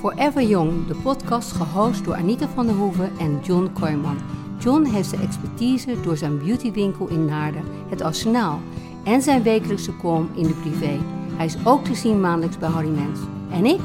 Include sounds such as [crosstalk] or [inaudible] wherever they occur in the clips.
Forever Young, de podcast gehost door Anita van der Hoeven en John Kooijman. John heeft zijn expertise door zijn beautywinkel in Naarden, het Arsenaal, en zijn wekelijkse column in de privé. Hij is ook te zien maandelijks bij Harry Mens. En ik?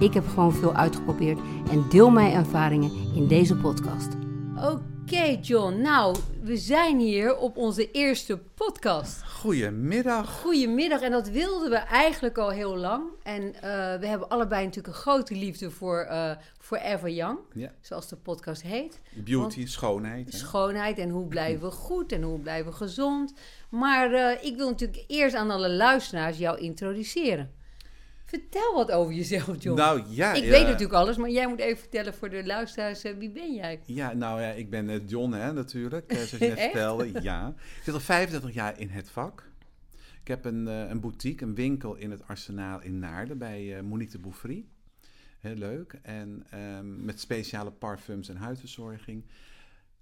Ik heb gewoon veel uitgeprobeerd en deel mijn ervaringen in deze podcast. Oké John, nou, we zijn hier op onze eerste podcast. Goedemiddag. Goedemiddag, en dat wilden we eigenlijk al heel lang. En eh, we hebben allebei natuurlijk een grote liefde voor eh, Forever Young, Ja. zoals de podcast heet. Beauty, schoonheid. hè? Schoonheid en hoe blijven we goed en hoe blijven we gezond. Maar eh, ik wil natuurlijk eerst aan alle luisteraars jou introduceren. Vertel wat over jezelf, John. Nou ja. ik eh, weet natuurlijk alles, maar jij moet even vertellen voor de luisteraars, eh, wie ben jij? Ja, nou ja, ik ben eh, John hè, natuurlijk, eh, zoals je [laughs] net Echt? vertelde. Ja. Ik zit al 35 jaar in het vak. Ik heb een, eh, een boutique, een winkel in het Arsenaal in Naarden bij eh, Monique de Bouffry. Heel leuk. En ehm, met speciale parfums en huidverzorging.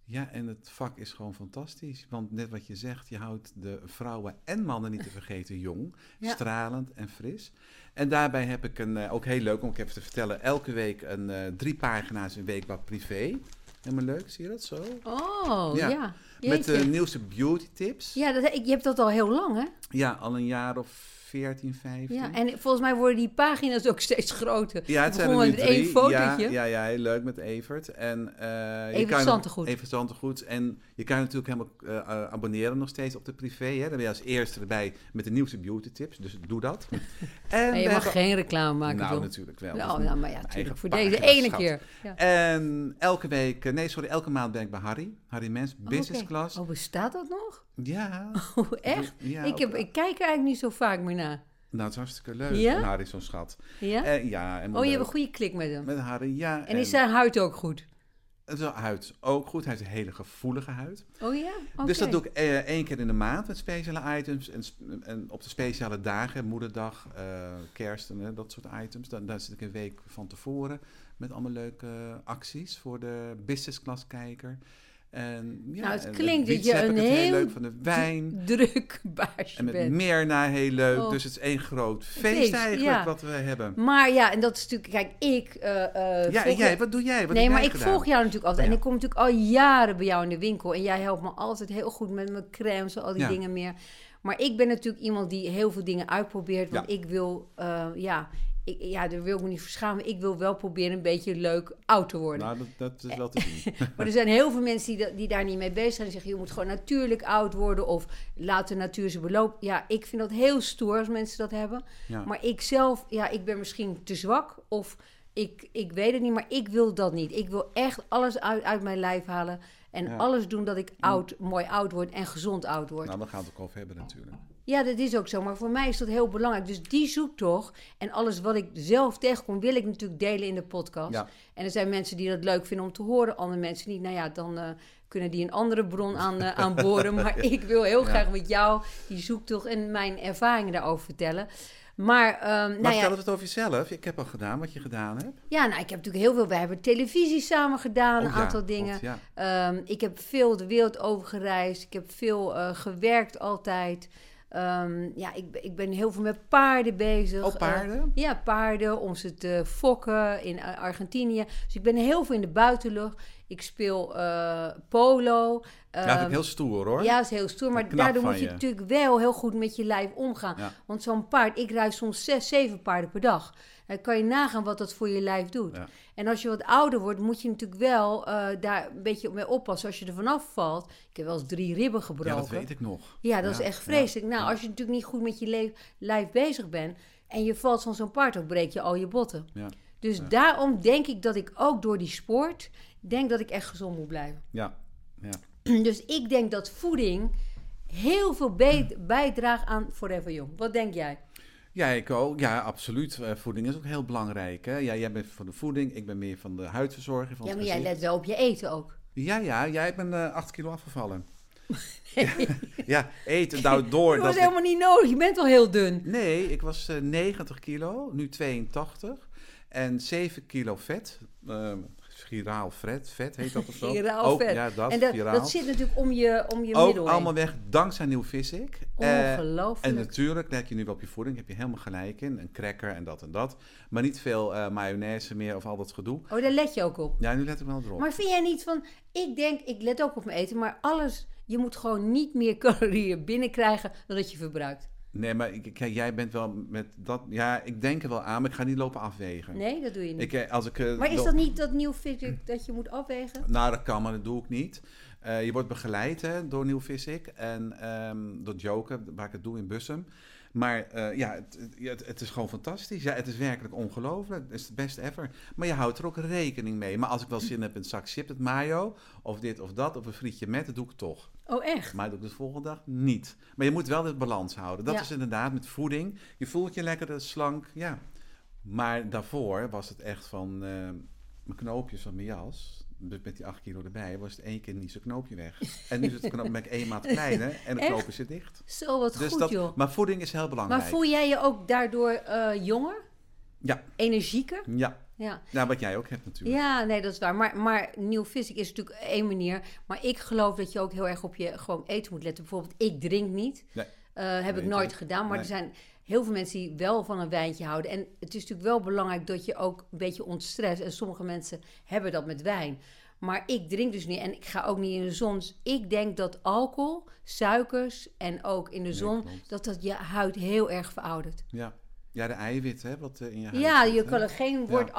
Ja, en het vak is gewoon fantastisch. Want net wat je zegt, je houdt de vrouwen en mannen niet te vergeten jong, [laughs] Ja. stralend en fris. En daarbij heb ik een, eh, ook heel leuk om ik even te vertellen, elke week een eh, drie pagina's een weekblad privé. Helemaal leuk, zie je dat zo? Oh, ja. Ja, Met eh, de Jeetje. nieuwste beauty tips. Ja. ja, dat, ik- je hebt dat al heel lang, hè? al een jaar of 14, 15. Ja, en volgens mij worden die pagina's ook steeds groter. Ja, het We zijn er begonnen nu met drie. één fotootje. Ja, ja, ja, heel leuk met Evert. En, eh, je Evert kan je nog- Zantegoed. Evert Zantegoed. En je kan je natuurlijk helemaal eh, eh, abonneren nog steeds op de privé. Hè? Dan ben je als eerste erbij met de nieuwste beauty tips. Dus doe [laughs] dat. En Nee, we je mag hebben- geen reclame maken, Nou, John. natuurlijk wel. Dat nou, is nou, maar ja, mijn natuurlijk. eigen Voor deze pagina, ene schat. keer. Ja. En elke week, eh, nee sorry, elke maand ben ik bij Harry. Harry Mens, business Oké. class. Oh, bestaat dat nog? [laughs] Ja. Oh, echt? Ja, ik, heb, ook- ik kijk er eigenlijk niet zo vaak meer naar. Nou, het is hartstikke leuk. Ja? En Harry is zo'n schat. Ja? Eh, ja, en oh, je leuk. hebt een goede klik met hem. Met Harry, ja. En is zijn huid ook goed? en zijn huid ook goed. Hij heeft een hele gevoelige huid. Oh ja? Oké. Dus dat doe ik eh, één keer in de maand met speciale items. En, sp- en op de speciale dagen, moederdag, eh, kerst en eh, dat soort items. Dan, daar zit ik een week van tevoren met allemaal leuke acties voor de business class kijker. En, ja, Nou, het en met klinkt dat wiets je heb een ik het heel heel leuk van de wijn. Dus Druk baasje En met bent. Mirna heel leuk. Oh. Dus het is één groot feest, Feest, eigenlijk ja. wat we hebben. Maar ja, en dat is natuurlijk... Kijk, ik... eh, eh, Ja, en volg jij, wat doe jij? Wat nee, heb maar jij ik gedaan? volg jou natuurlijk altijd. Ja. En ik kom natuurlijk al jaren bij jou in de winkel. En jij helpt me altijd heel goed met mijn crèmes en al die Ja. dingen meer. Maar ik ben natuurlijk iemand die heel veel dingen uitprobeert. Want Ja. ik wil, eh, ja, ik, ja, daar wil ik me niet verschamen. Ik wil wel proberen een beetje leuk oud te worden. Nou, dat, dat is wel [laughs] te zien. Maar er zijn heel veel mensen die, da- die daar niet mee bezig zijn. Die zeggen, je moet gewoon natuurlijk oud worden. Of laat de natuur zijn beloop. Ja, ik vind dat heel stoer als mensen dat hebben. Ja. Maar ik zelf, ja, ik ben misschien te zwak of ik, ik weet het niet, maar ik wil dat niet. Ik wil echt alles uit, uit mijn lijf halen en Ja. alles doen dat ik oud, mooi oud word en gezond oud word. nou, we gaan het ook over hebben natuurlijk. Ja, dat is ook zo, maar voor mij is dat heel belangrijk. Dus die zoektocht en alles wat ik zelf tegenkom, wil ik natuurlijk delen in de podcast. Ja. En er zijn mensen die dat leuk vinden om te horen, andere mensen niet. Nou ja, dan eh, kunnen die een andere bron aan, eh, [laughs] aanboren. Maar ik wil heel Ja. graag met jou die zoektocht en mijn ervaringen daarover vertellen. Maar, ehm, Maar nou ja, vertel het over jezelf. Ik heb al gedaan wat je gedaan hebt. Ja, nou, ik heb natuurlijk heel veel. We hebben televisie samen gedaan, Oh, een ja, aantal God, dingen. ja. Ehm, ik heb veel de wereld over gereisd. Ik heb veel eh, gewerkt altijd. Ehm, ja, ik, ben- ik ben heel veel met paarden bezig. Oh, paarden? Eh, ja, paarden, om ze te fokken in eh, Argentinië. Dus ik ben heel veel in de buitenlucht. Ik speel eh, polo. ja, dat Ehm, vind ik heel stoer hoor. ja, dat is heel stoer. Maar knap daardoor van moet je, je. natuurlijk wel heel goed met je lijf omgaan. Ja. Want zo'n paard, ik rijd soms zes, zeven paarden per dag. Dan kan je nagaan wat dat voor je lijf doet. Ja. En als je wat ouder wordt, moet je natuurlijk wel eh, daar een beetje mee oppassen. Als je er vanaf valt. Ik heb wel eens drie ribben gebroken. Ja, dat weet ik nog. Ja, dat is Ja, echt ja. vreselijk. Nou, als je natuurlijk niet goed met je le- lijf bezig bent... en je valt van zo'n paard, dan breek je al je botten. Ja, Dus daarom denk ik dat ik ook door die sport... denk dat ik echt gezond moet blijven. ja, ja. [clears throat] Dus ik denk dat voeding heel veel be- Hmm. bijdraagt aan Forever Young. Wat denk jij? ja ik ook. Ja, absoluut. Eh, voeding is ook heel belangrijk. Hè? Ja, jij bent van de voeding, ik ben meer van de huidverzorging. Van Ja, het maar jij gezicht. let wel op je eten ook. Ja, ja, jij bent eh 8 kilo [laughs] afgevallen. ja, ja, eten nou door. Dat was dat ik- helemaal niet nodig. Je bent al heel dun. Nee, ik was eh, 90 kilo, nu 82. En 7 kilo vet. ehm viraal vet, vet heet dat of [laughs] zo? Viraal Ook, vet. Ja, dat, en dat, viraal. dat zit natuurlijk om je, om je Ook middel heen. allemaal weg dankzij Nieuw Vissik. Eh, en Ongelooflijk. natuurlijk let je nu wel op je voeding, heb je helemaal gelijk in. Een cracker en dat en dat. Maar niet veel eh, mayonaise meer of al dat gedoe. oh, daar let je ook op. Ja, nu let ik wel erop. Maar vind jij niet van, ik denk, ik let ook op mijn eten, maar alles, je moet gewoon niet meer [laughs] calorieën binnenkrijgen dan dat je verbruikt. Nee, maar ik- kijk, jij bent wel met dat... Ja, ik denk er wel aan, maar ik ga niet lopen afwegen. Nee, dat doe je niet. Ik, eh, als ik, eh, maar is wil- dat niet dat nieuw fidget dat je moet afwegen? Nou, dat kan, maar dat doe ik niet. Eh, je wordt begeleid hè, door Nieuw Visik en ehm, door Joker, waar ik het doe in Bussum. Maar eh, ja, het, het- ja, het, het is gewoon fantastisch. Ja, het is werkelijk ongelooflijk. Het is het best ever. Maar je houdt er ook rekening mee. Maar als ik wel zin heb in een zak chips met mayo, of dit of dat, of een frietje met, dat doe ik toch. Oh, echt? Maar dat doe ik de volgende dag niet. Maar je moet wel de balans houden. Dat Ja. is inderdaad met voeding. Je voelt je lekker dat is slank, ja. Maar daarvoor was het echt van eh, mijn knoopjes van mijn jas. Met met die acht kilo erbij was het één keer niet zo'n knoopje weg. En nu is het knoop, ben ik één maat kleiner en de Echt? knoop is er dicht. Dus Zo, wat goed dat, joh. maar voeding is heel belangrijk. Maar voel jij je ook daardoor eh, jonger, Ja, energieker? ja. Ja. Nou, wat jij ook hebt natuurlijk. Ja, nee, dat is waar. Maar, maar nieuw fysiek is natuurlijk één manier. Maar ik geloof dat je ook heel erg op je gewoon eten moet letten. Bijvoorbeeld, ik drink niet. Nee. Eh, heb Nee, ik nooit tuurlijk. gedaan. Maar er Nee. zijn heel veel mensen die wel van een wijntje houden. En het is natuurlijk wel belangrijk dat je ook een beetje ontstress. En sommige mensen hebben dat met wijn. Maar ik drink dus niet en ik ga ook niet in de zon. Dus ik denk dat alcohol, suikers en ook in de zon, klopt. dat dat je huid heel erg veroudert. Ja, ja de eiwitten, hè, wat eh, in je huid Ja, zit, je hè. collageen wordt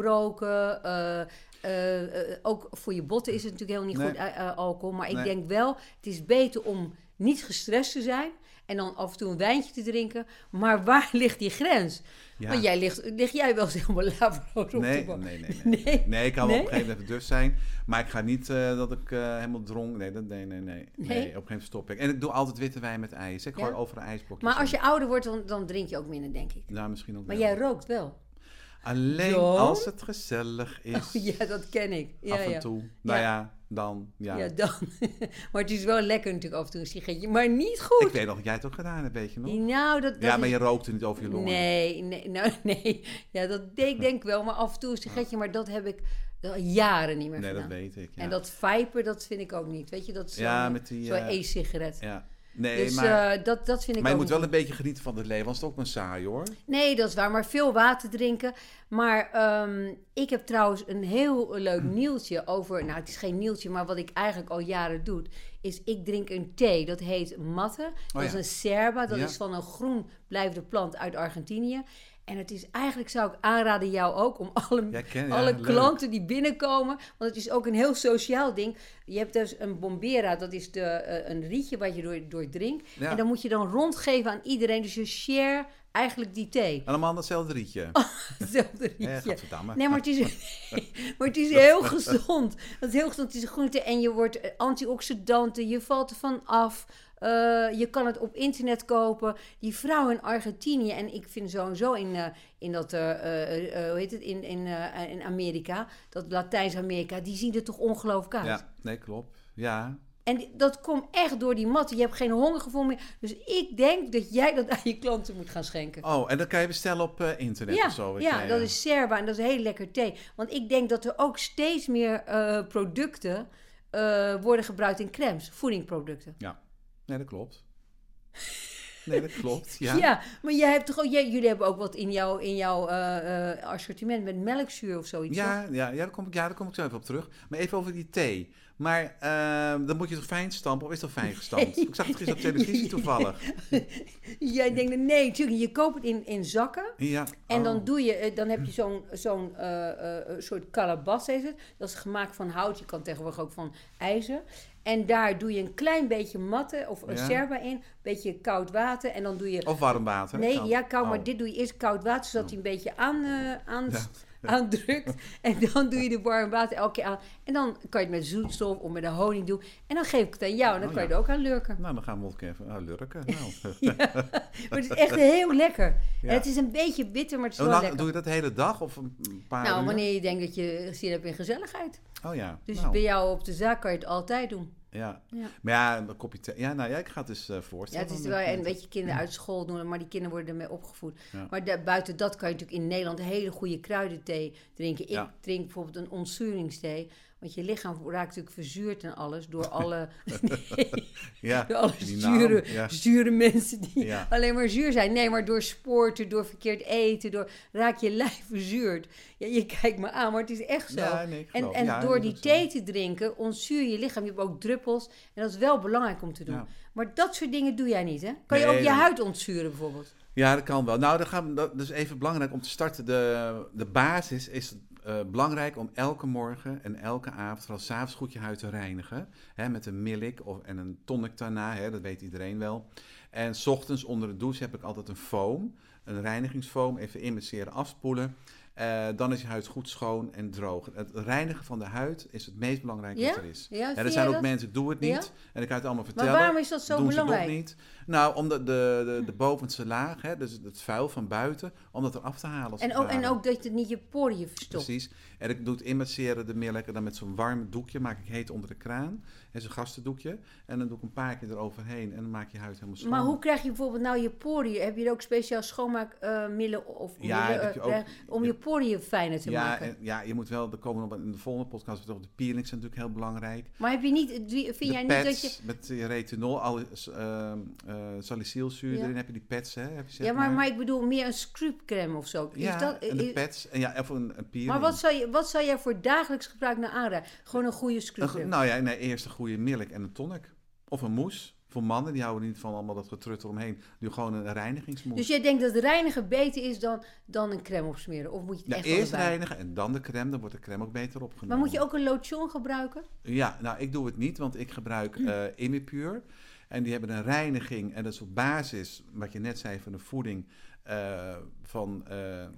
afgebroken. eh, eh, eh, ook voor je botten is het natuurlijk heel niet Nee. goed, eh, eh, alcohol. Maar ik Nee. denk wel, het is beter om niet gestrest te zijn. En dan af en toe een wijntje te drinken. Maar waar [laughs] ligt die grens? Ja. Want jij ligt, lig jij wel eens helemaal lavrood op Nee, de bank? nee, [laughs] nee, nee. Nee? Nee, ik kan wel Nee? op een gegeven moment even dus zijn. Maar ik ga niet eh, dat ik eh, helemaal dronk. Nee, dat, nee, nee, nee, nee. Op een gegeven moment stop ik. En ik doe altijd witte wijn met ijs. Ik Ja? gooi over een ijsblokje. Maar als je ouder wordt, dan, dan drink je ook minder, denk ik. Nou, misschien ook Maar wel. jij rookt wel. [laughs] Alleen John? Oh, als het gezellig is. [laughs] Ja, dat ken ik. Ja, af en ja. toe. Nou Ja. ja, dan. Ja. Ja, dan. [laughs] maar het is wel lekker natuurlijk af en toe een sigaretje. Maar niet goed. ik weet nog dat jij het ook gedaan hebt, weet je nog? Nou, dat, dat ja, is maar je rookte niet over je longen. Nee, nee, nou, [laughs] nee. Ja, dat deed ik denk wel, maar af en toe een sigaretje. Maar dat heb ik al jaren niet meer Nee, dat gedaan. weet ik. Ja, En dat viper, dat vind ik ook niet. Weet je, dat is Ja, zo'n- met die, zo'n eh, e-sigaret. ja. Nee, dus maar, eh, dat, dat vind ik maar je ook moet niet wel een beetje genieten van het leven. Want het is ook maar saai, hoor. Nee, dat is waar. Maar veel water drinken. Maar ehm, ik heb trouwens een heel leuk Hm. nieuwtje over... Nou, het is geen nieuwtje, maar wat ik eigenlijk al jaren doe... is ik drink een thee. Dat heet matte. dat Oh ja. is een serba. Dat Ja. is van een groen blijvende plant uit Argentinië. En het is eigenlijk, zou ik aanraden jou ook... om alle, Jij kent- ja, alle leuk. klanten die binnenkomen... want het is ook een heel sociaal ding. Je hebt dus een bombera. Dat is de, eh, een rietje wat je door, door drinkt. Ja. En dan moet je dan rondgeven aan iedereen. Dus je share eigenlijk die thee. [laughs] Allemaal datzelfde rietje. Hetzelfde Eh, rietje. gadverdamme. Oh, Nee, maar het is, maar het is heel gezond. Het is heel gezond. Het is een groente en je wordt eh, antioxidanten. Je valt ervan af. Eh, je kan het op internet kopen. Die vrouw in Argentinië, en ik vind sowieso in, eh, in dat, eh, eh, eh, hoe heet het, in, in, eh, in Amerika, dat Latijns-Amerika, die zien er toch ongelooflijk uit. Ja, nee, klopt. Ja, En die- dat komt echt door die matten. Je hebt geen hongergevoel meer. Dus ik denk dat jij dat aan je klanten moet gaan schenken. Oh, en dat kan je bestellen op eh, internet Ja, of zo. weet ja, jij, dat eh. is Serba en dat is heel lekker thee. Want ik denk dat er ook steeds meer eh, producten eh, worden gebruikt in crèmes, voedingproducten. Ja, nee, dat klopt. Nee, dat klopt. [laughs] Ja. Ja, maar jij hebt toch ook, jij- jullie hebben ook wat in jouw, in jouw eh, eh, assortiment met melkzuur of zoiets. toch? Ja, ja, ja, daar kom ik, ja, daar kom ik zo even op terug. Maar even over die thee. Maar ehm, dan moet je toch fijn stampen? Of is dat fijn [laughs] gestampt? Ik zag het gisteren op televisie toevallig. Jij denkt, nee, natuurlijk, je koopt het in, in zakken. Ja. En oh. dan, doe je, eh, dan heb je zo'n zo'n eh, eh, soort kalabas, heet het. Dat is gemaakt van hout. Je kan tegenwoordig ook van ijzer. En daar doe je een klein beetje matte of een Ja. Oh, serba in. Een beetje koud water. En dan doe je... Of warm water. nee, kan. ja, koud. Oh. Maar dit doe je eerst koud water, zodat hij een beetje aan, eh, aan, Ja. [laughs] aandrukt. En dan doe je de warm water elke keer aan. En dan kan je het met zoetstof of met de honing doen. En dan geef ik het aan jou. En dan Oh, kan je ja. er ook aan lurken. Nou, dan gaan we ook even ah, lurken. [laughs] Nou. Maar het is [laughs] echt heel lekker. Ja. Oh, En het is een beetje bitter, maar het is Hoe wel lang- lekker. doe je dat de hele dag of een paar Nou, uur? wanneer je denkt dat je zin hebt in gezelligheid. Oh ja. Dus nou, bij jou op de zaak kan je het altijd doen. ja. Ja. Maar ja, een kopje thee. Ja, nou ja, ik ga het dus eh, Ja, voorstellen. het is aan wel de een kinderen. beetje kinderen uit school doen, maar die kinderen worden ermee opgevoed. Ja. Maar da- buiten dat kan je natuurlijk in Nederland hele goede kruidenthee drinken. Ik Ja. drink bijvoorbeeld een ontzuringsthee, want je lichaam raakt natuurlijk verzuurd en alles [laughs] door alle, nee, Ja, [laughs] door alle die naam, zure, ja. zure mensen die Ja. alleen maar zuur zijn. Nee, maar door sporten, door verkeerd eten, door raak je lijf verzuurd. Ja, je kijkt me aan, maar het is echt zo. Ja, nee, ik En, geloof- en ja, door dat die is, eh, thee te drinken ontzuur je lichaam. Je hebt ook druppels. En dat is wel belangrijk om te doen. Ja. Maar dat soort dingen doe jij niet, hè? Kan je Nee, ook je dat- huid ontzuren, bijvoorbeeld? Ja, dat kan wel. Nou, dan gaan we, dat is even belangrijk om te starten. De, de basis is eh, belangrijk om elke morgen en elke avond, vooral s'avonds, goed je huid te reinigen. Hè, met een milk of, en een tonic daarna, hè, dat weet iedereen wel. En 's ochtends onder de douche heb ik altijd een foam, een reinigingsfoam, even immerseren, afspoelen. Eh, dan is je huid goed schoon en droog. Het reinigen van de huid is het meest belangrijke Ja? wat er is. Ja, Hè, vind er je zijn ook dat? mensen, ik doe het niet. Ja? En ik kan het allemaal vertellen. Maar waarom is dat zo doen belangrijk? Hm. ze toch niet? Nou, omdat de, de, de bovenste laag, hè, dus het vuil van buiten, om dat eraf te halen. als En het ook, en ware. ook dat het niet je poriën verstopt. Precies. En ik doe het immerseren, de melk, en dan met zo'n warm doekje maak ik heet onder de kraan. En zo'n gastendoekje. En dan doe ik een paar keer eroverheen en dan maak je huid helemaal schoon. Maar hoe krijg je bijvoorbeeld nou je poriën? Heb je er ook speciaal schoonmaakmiddelen of Ja, middelen, dat je eh, ook- om je poriën fijner te ja, maken? en, ja, je moet wel, er komen nog in de volgende podcast weer op de peelings zijn natuurlijk heel belangrijk. Maar heb je niet, die- vind jij de niet pads dat je... met eh, retinol, al, eh, eh, salicylzuur Ja. erin, heb je die pads, hè? Heb je, zeg Ja, maar, maar ik bedoel meer een scrubcreme of zo. Is ja, Dus dat, en de is- pads, en ja, of een, een peeling. maar wat zou, je, wat zou jij voor dagelijks gebruik nou aanraden? Gewoon een goede Een go- scrubcreme. nou ja, nee, eerst een goede milk en een tonic. Of een moes. Voor mannen, die houden niet van allemaal dat getruttel omheen. Doe gewoon een reinigingsmoes. Dus jij denkt dat reinigen beter is dan, dan een crème opsmeren? Of moet je het ja, echt Nou, eerst allebei? reinigen en dan de crème. Dan wordt de crème ook beter opgenomen. Maar moet je ook een lotion gebruiken? Ja, nou, ik doe het niet, want ik gebruik Hm. eh Immipure. En die hebben een reiniging. En dat is op basis, wat je net zei, van de voeding eh, van eh, de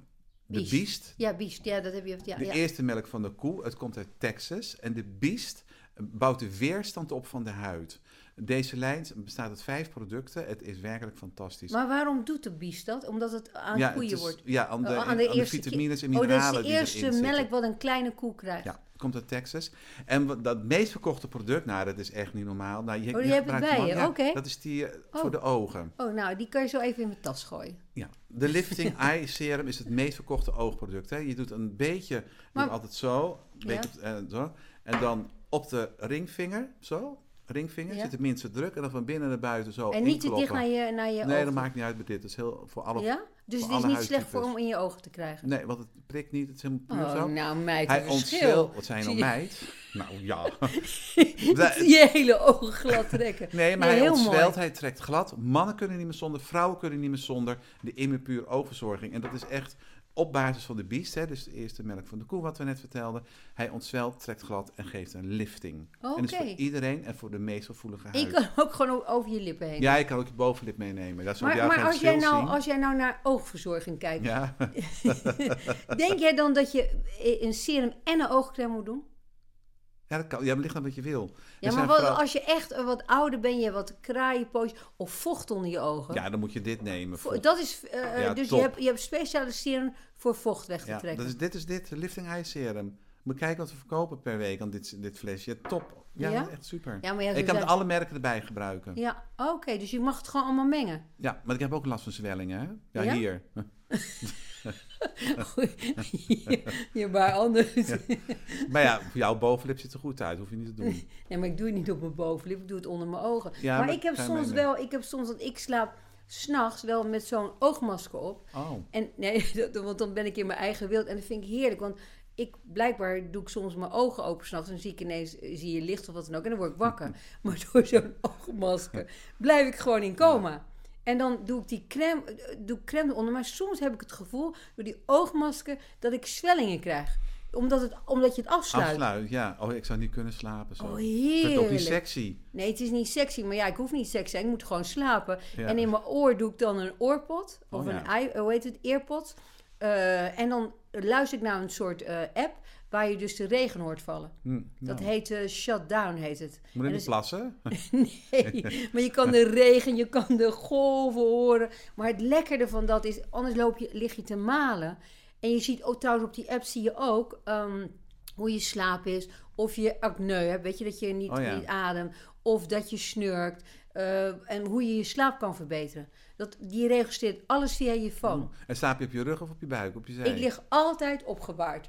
Biest. biest. Ja, biest. Ja, dat heb je. Ja, De ja. eerste melk van de koe, het komt uit Texas. En de biest bouwt de weerstand op van de huid. Deze lijn bestaat uit vijf producten. Het is werkelijk fantastisch. Maar waarom doet de biest dat? Omdat het aan ja, koeien het is- wordt. Ja, aan de, Oh, aan de vitamines en ki- mineralen Oh, dat is die de eerste erin zitten. melk wat een kleine koe krijgt. Ja, komt uit Texas. En wat, dat meest verkochte product, nou, dat is echt niet normaal. Nou, je, Oh, die heb ik gebruikt bij hem al. je, Ja, oké. Dat is die eh, Oh. voor de ogen. Oh, nou, die kan je zo even in mijn tas gooien. Ja. De Lifting [laughs] Eye Serum is het meest verkochte oogproduct. Hè. Je doet een beetje, je Maar- doet altijd zo, een Ja. beetje, eh, zo. En dan op de ringvinger, zo. Ringvinger, Ja. zit de minste druk. En dan van binnen naar buiten zo en niet te Oh, inkloppen. dicht naar je, naar je Nee, ogen. dat maakt niet uit met dit. Dat is heel voor alle... Ja? Dus voor het is alle niet slecht voor huidtypes. om in je ogen te krijgen. Nee, want het prikt niet. Het is helemaal puur Oh, zo. nou meid, Hij een ontspeelt. verschil. Wat zijn Zie nou [laughs] je- meid? Nou [laughs] ja. Je hele ogen glad trekken. Nee, maar Nee, hij heel mooi. ontzwelt, hij trekt glad. Mannen kunnen niet meer zonder, vrouwen kunnen niet meer zonder de immerpuur oogverzorging. En dat is echt op basis van de biest, hè, dus de eerste melk van de koe, wat we net vertelden. Hij ontzwelt, trekt glad en geeft een lifting. En dat is Oké. voor iedereen en voor de meest gevoelige En je huid. kan ook gewoon over je lippen heen. Ja, je kan ook je bovenlip meenemen. Dat is ook maar jou maar geen als, jij verschil nou, zien. als jij nou naar oogverzorging kijkt, [laughs] Ja, denk jij dan dat je eh, een serum en een oogcreme moet doen? ja, dat kan. Ja, maar ligt aan wat je wil. Ja, Er maar zijn wat, vooral- als je echt eh, wat ouder bent, je hebt wat kraaienpootjes of vocht onder je ogen. Ja, dan moet je dit nemen. Vo- Vol- dat is, eh, Ja, dus je top. hebt, je hebt speciale serum voor vocht weg te Ja, trekken. dat is, dit is dit, lifting eye serum. Moet kijken wat we verkopen per week aan dit, dit flesje. Top. Ja, Ja? dat is echt super. Ja, maar ja, ik kan dat- het alle merken erbij gebruiken. Ja. Ja, oké, dus je mag het gewoon allemaal mengen. maar ik heb ook last van zwellingen. Hè? Ja, Ja? hier. [laughs] [laughs] ja, maar anders. Maar ja, voor jouw bovenlip ziet er goed uit. Hoef je niet te [laughs] doen. Nee, maar ik doe het niet op mijn bovenlip, ik doe het onder mijn ogen. Ja, maar maar ik heb kan je soms meenemen. wel, ik heb soms, want ik slaap s'nachts wel met zo'n oogmasker op. Oh, En nee, [laughs] dat, want dan ben ik in mijn eigen wereld en dat vind ik heerlijk. Want ik blijkbaar doe ik soms mijn ogen open s'nachts en zie ik ineens eh, zie je licht of wat dan ook en dan word ik wakker. Maar door zo'n oogmasker blijf ik gewoon in coma. En dan doe ik die crème, eh, doe ik crème eronder. Maar soms heb ik het gevoel door die oogmasker dat ik zwellingen krijg. Omdat, het, omdat je het afsluit. afsluit. Ja. Oh, ik zou niet kunnen slapen. Zo. Oh, Ik vind het ook niet heerlijk. sexy. Nee, het is niet sexy, maar ja, ik hoef niet sexy te zijn. Ik moet gewoon slapen. Ja. En in mijn oor doe ik dan een oorpot. Of Oh, een, ja. ei- eh, hoe heet het, earpot. Eh, en dan luister ik naar een soort eh, app waar je dus de regen hoort vallen. Hm, nou. Dat heet eh, Shutdown, heet het. Moet En dus- ik dat niet is- plassen? [laughs] nee, [laughs] maar je kan de regen, je kan de golven horen. Maar het lekkerde van dat is, anders loop je, lig je te malen. En je ziet ook trouwens op die app, zie je ook... ehm, hoe je slaap is, of je acne hebt, weet je, dat je niet, Oh ja. niet ademt, of dat je snurkt, eh, en hoe je je slaap kan verbeteren. Dat, die registreert alles via je phone. En slaap je op je rug of op je buik, op je zij? Ik lig altijd [laughs] opgebaard.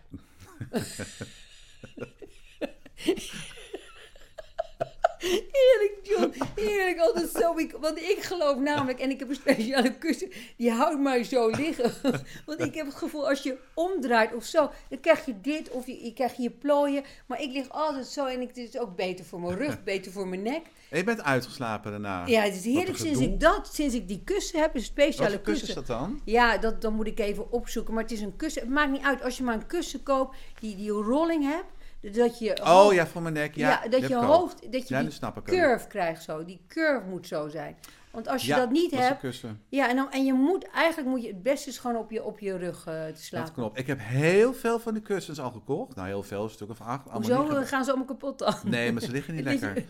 Heerlijk, John. Heerlijk, altijd zo. Ik- Want ik geloof namelijk, en ik heb een speciale kussen, die houdt mij zo liggen. [laughs] Want ik heb het gevoel, als je omdraait of zo, dan krijg je dit of je, je krijgt je plooien. Maar ik lig altijd zo en ik, dit is ook beter voor mijn [laughs] rug, beter voor mijn nek. En je bent uitgeslapen daarna. Ja, het is Ah, Wat heerlijk een sinds gedoe. ik dat, sinds ik die kussen heb, een Wat speciale voor kus is kussen. dat dan? Ja, dat, dan moet ik even opzoeken. Maar het is een kussen. Het maakt niet uit. Als je maar een kussen koopt die die rolling hebt. Dat je Oh hoofd- ja, voor mijn nek. Ja, ja, dat heb je ik ook. hoofd, dat je Ja, nu die snap ik hem. curve krijgt zo. Die curve moet zo zijn. Want als je Ja, dat niet is een hebt, kussen. ja, en, dan, en je moet eigenlijk moet je het beste is gewoon op je, op je rug eh, te Dat slapen. klopt. Ik heb heel veel van die kussens al gekocht. Nou, heel veel, een stuk of acht. Allemaal Hoezo niet gebruikt. eh, gaan ze allemaal kapot dan? Nee, maar ze [laughs] liggen niet Weet je- lekker.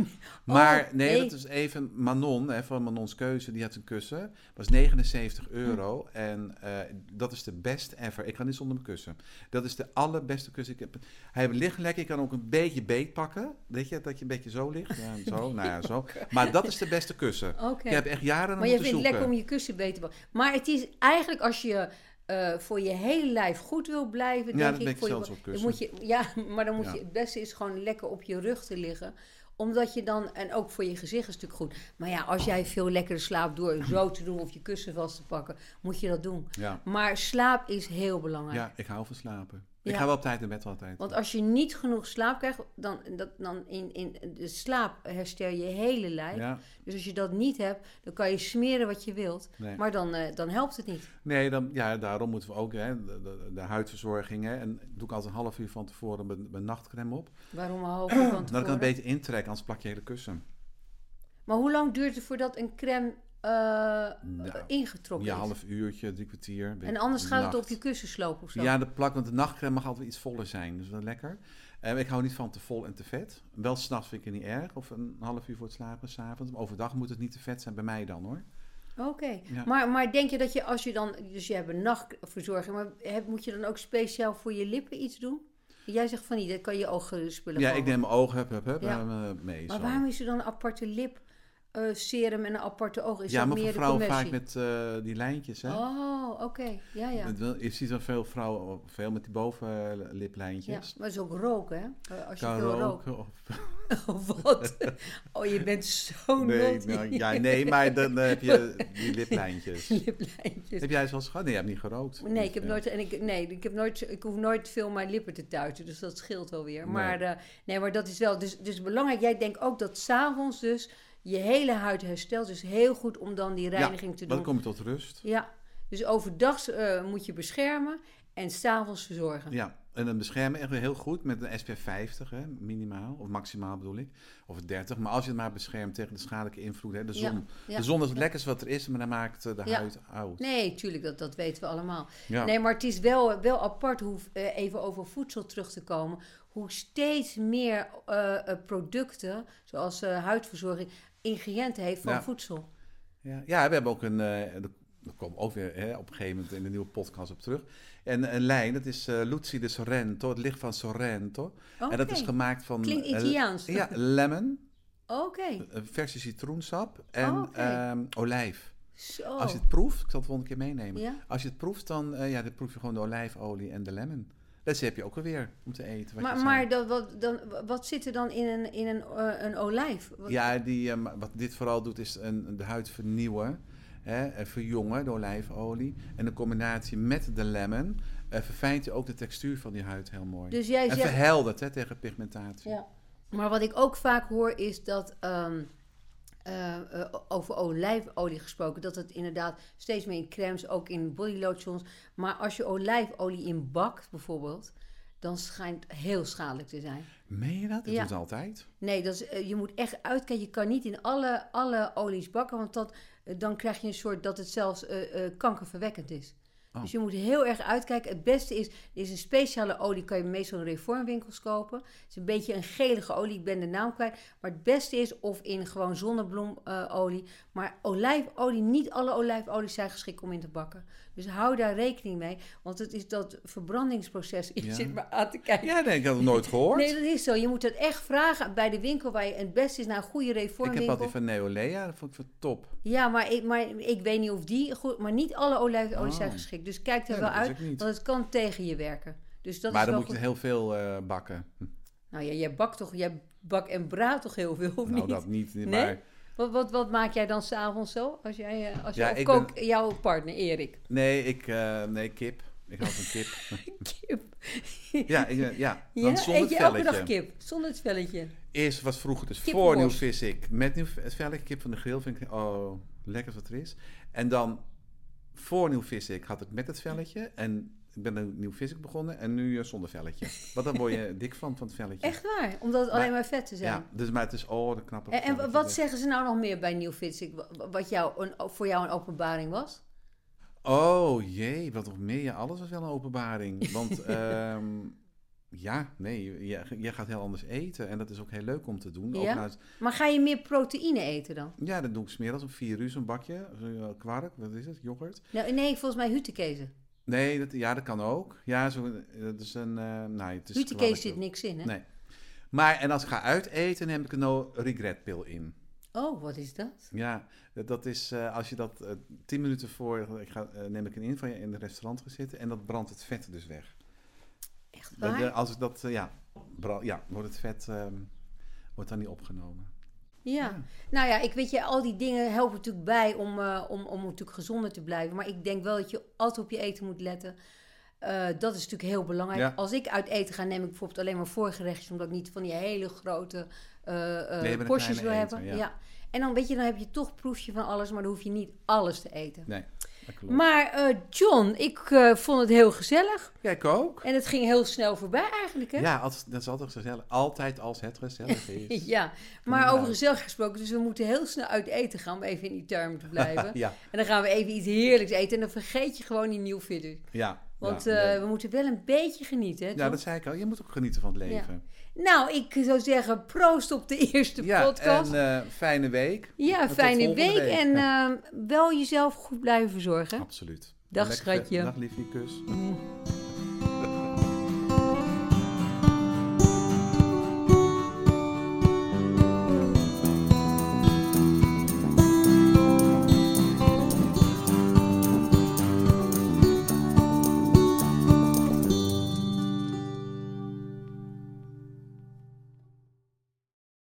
Maar Oh, nee, nee. dat is even Manon, hè, van Manons Keuze, die had een kussen. Was 79 Hm. euro en eh, dat is de best ever. Ik kan niet zonder mijn kussen. Dat is de allerbeste kussen. Ik heb, hij ligt lekker, je kan ook een beetje beet pakken. Weet je, dat je een beetje zo ligt. Ja, [laughs] zo, nou ja, zo. Maar dat is de beste kussen. Oké. Ik heb echt jaren aan Maar je moeten vindt het zoeken. lekker om je kussen beter te maken. Maar het is eigenlijk als je eh, voor je hele lijf goed wil blijven, Ja, denk ik. dat ben ik voor zelfs je, op dan kussen. moet je, ja, [laughs] maar dan moet Ja. je het beste is gewoon lekker op je rug te liggen omdat je dan, en ook voor je gezicht is het natuurlijk goed. Maar ja, als jij veel lekkerder slaapt [clears throat] door zo te doen of je kussen vast te pakken, moet je dat doen. Ja. Maar slaap is heel belangrijk. ja, ik hou van slapen. Ik Ja. ga wel op tijd naar bed altijd. Want als je niet genoeg slaap krijgt, dan, dat, dan in, in de slaap herstel je hele lijf. ja, Dus als je dat niet hebt, dan kan je smeren wat je wilt. nee. Maar dan, eh, dan helpt het niet. Nee, dan, ja, daarom moeten we ook hè, de, de, de huidverzorging. Hè, en doe ik altijd een half uur van tevoren mijn, mijn nachtcreme op. Waarom een [clears throat] half uur van Dan Nou, kan tevoren? het beter intrekken, anders plak je hele kussen. Maar hoe lang duurt het voordat een crème eh, Nou, ingetrokken ja, is? half uurtje, drie kwartier. weet en ik, anders gaat het nacht. op je kussen slopen of zo. Ja, de plak, want de nachtcrème mag altijd iets voller zijn. Dus wel lekker. Eh, ik hou niet van te vol en te vet. Wel s'nachts vind ik het niet erg. Of een half uur voor het slapen, s'avonds. Maar overdag moet het niet te vet zijn, bij mij dan hoor. Oké. Ja. Maar, maar denk je dat je als je dan... Dus je hebt een nachtverzorging, maar heb, moet je dan ook speciaal voor je lippen iets doen? Jij zegt van niet, dat kan je ogen spullen Ja, gewoon. ik neem mijn ogen, hup, hup, hup, Ja. eh, mee. Maar zo. waarom is er dan een aparte lip eh, serum en een aparte oog? Is ja, dat maar meer voor de vrouwen vaak commercie? met eh, die lijntjes, hè. Oh, oké. Ja, ja. Het wel- Je ziet wel veel vrouwen, veel met die ja. Maar bovenliplijntjes. dat is ook rook, hè? Eh, als je Kan veel rookt. roken of... [laughs] Oh, wat? Oh, je bent zo Nee, naughty. nou, [laughs] ja, nee, maar dan eh, heb je die liplijntjes. Liplijntjes. Heb jij ze wel eens gehad? Nee, je hebt niet Dus, eh, gerookt. Nee, ik heb Ja. nooit, en ik, nee, ik heb nooit, ik hoef nooit veel mijn lippen te tuiten, dus dat scheelt wel weer. Nee. Maar, eh, nee, maar dat is wel, dus, dus belangrijk. Jij denkt ook dat s'avonds dus je hele huid herstelt, dus heel goed om dan die reiniging te Maar dan doen. kom je tot rust. Ja, dus overdag eh, moet je beschermen en s'avonds verzorgen. Ja, en dan beschermen echt weer heel goed met een SP50, hè, minimaal, of maximaal bedoel ik. Of 30, maar als je het maar beschermt tegen de schadelijke invloed, hè, de Ja, zon. ja. De zon is het lekkers wat er is, maar dat maakt eh, de Ja. huid oud. Nee, tuurlijk, dat, dat weten we allemaal. Ja. Nee, maar het is wel, wel apart hoe eh, even over voedsel terug te komen. Hoe steeds meer eh, eh, producten, zoals eh, huidverzorging, ingrediënten heeft van Ja. voedsel. Ja, ja, we hebben ook een. eh er- er komen ook weer hè, op een gegeven moment in de nieuwe podcast op terug. En een lijn, dat is eh Luzi de Sorrento, het licht van Sorrento. En dat is Oké. gemaakt van. Klinkt eh, Italiaans. ja, lemon, Oké, een verse citroensap en Oh, oké. ehm, olijf. zo. Als je het proeft, ik zal het volgende keer meenemen. Ja? Als je het proeft, dan, eh, ja, dan proef je gewoon de olijfolie en de lemon. Dat heb je ook alweer om te eten. Wat je Maar, zei. maar dat, wat, dan, wat zit er dan in een, in een, eh, een olijf? Wat- Ja, die, eh, ma- wat dit vooral doet is een, de huid vernieuwen, hè, en verjongen door olijfolie. En in combinatie met de lemon eh, verfijnt je ook de textuur van die huid heel mooi. Dus jij en zegt... verheldert hè, tegen pigmentatie. Ja. Maar wat ik ook vaak hoor is dat, ehm, eh, eh, over olijfolie gesproken, dat het inderdaad steeds meer in crèmes, ook in bodylotions. Maar als je olijfolie in bakt bijvoorbeeld, dan schijnt het heel schadelijk te zijn. Meen je dat? Dat Ja. doet altijd. Nee, dat is, eh, je moet echt uitkijken. Je kan niet in alle, alle olies bakken, want dat, eh, dan krijg je een soort dat het zelfs eh, eh, kankerverwekkend is. Oh. Dus je moet heel erg uitkijken. Het beste is, er is een speciale olie, kan je meestal in reformwinkels kopen. Het is een beetje een gelige olie, ik ben de naam kwijt. Maar het beste is of in gewoon eh, zonnebloemolie. maar olijfolie, niet alle olijfolies zijn geschikt om in te bakken. Dus Dus hou daar rekening mee, want het is dat verbrandingsproces. [laughs] Je Ja. zit maar aan te kijken. Ja, nee, ik had het [laughs] nooit gehoord. Nee, dat is zo. Je moet dat echt vragen bij de winkel waar je het beste is naar een goede ik heb reformwinkel. altijd van Neolea, dat vond ik van top. Ja, maar ik, maar ik weet niet of die goed, maar niet alle olijfolie zijn Oh. geschikt. Dus kijk er Ja, wel dat wist uit, ik niet. want het kan tegen je werken. Dus dat maar is dan wel moet je goed. het heel veel eh, bakken. Nou ja, jij bakt toch, jij bak en braadt toch heel veel, of nou, niet? dat niet. Maar Nee? Wat, wat, wat maak jij dan s'avonds zo? Als jij, eh, als Ja, jij of ik kook jouw partner, Erik. nee, ik, eh, nee, kip. Ik had een [laughs] kip. Kip. [laughs] ja, ik, eh, ja, Ja, dan zonder eet je elke velletje. dag kip, zonder het velletje. Eerst was vroeger dus voor Kippenborst. nieuw vis ik. Met nieuw het velletje kip van de grill vind ik, oh, lekker wat er is. En dan voor nieuw vis ik had ik met het velletje. En ik ben een nieuw vis ik begonnen en nu eh, zonder velletje. Want dan [laughs] word je dik van, van het velletje. Echt waar, omdat het Maar- alleen maar vetten zijn. Ja, dus, maar het is, oh, de knappe En, en velletje. wat zeggen ze nou nog meer bij Nieuw Fitsik, wa- wat jou een, voor jou een openbaring was? Oh jee, wat nog meer? Ja, alles was wel een openbaring. [laughs] Want ehm, ja, nee, je, je gaat heel anders eten. En dat is ook heel leuk om te doen. Ook Ja? naast- Maar ga je meer proteïne eten dan? ja dat doe ik smiddags om vier uur, zo'n bakje. zo'n Kwark, wat is het? Yoghurt? Nou, nee, volgens mij hutekezen. Nee, dat, ja, dat kan ook. Ja, zo, dat is een... eh nee, het is Hutekees kwark. zit niks in, hè? Nee. Maar, en als ik ga uiteten, neem ik een no-regret-pil in. Oh, wat is dat? Ja, dat- dat is eh, als je dat eh, tien minuten voor... Ik ga, eh, neem ik een in van je in het restaurant gaat zitten. En dat brandt het vet dus weg. Echt Dat, waar? eh, als ik dat, eh, ja, bra- ja, wordt het vet, ehm, wordt dan niet opgenomen. Ja. Nou ja, ik weet je, al die dingen helpen natuurlijk bij om, eh, om, om natuurlijk gezonder te blijven. Maar ik denk wel dat je altijd op je eten moet letten. Eh, dat is natuurlijk heel belangrijk. Ja. Als ik uit eten ga, neem ik bijvoorbeeld alleen maar voorgerechtjes, omdat ik niet van die hele grote eh, eh, Nee, maar een porties wil kleine hebben. eten, ja. En dan weet je, dan heb je toch proefje van alles, maar dan hoef je niet alles te eten. Nee, dat klopt. Maar eh, John, ik eh, vond het heel gezellig. ja, ik ook. En het ging heel snel voorbij eigenlijk, hè? Ja, als, dat is altijd gezellig. Altijd als het gezellig [laughs] is. Ja, maar Inderdaad. over gezellig gesproken, dus we moeten heel snel uit eten gaan om even in die term te blijven. ja, En dan gaan we even iets heerlijks eten en dan vergeet je gewoon die nieuwfitter. ja. Want ja, eh, nee. we moeten wel een beetje genieten, hè? ja, Tom? dat zei ik al. Je moet ook genieten van het leven. Nou, ik zou zeggen, proost op de [laughs] eerste Ja, podcast. en eh, fijne week. ja, en tot fijne volgende week, week. en ehm, wel jezelf goed blijven zorgen. Absoluut. Dag, Lekker- schatje. Dag, liefie, kus. Mm.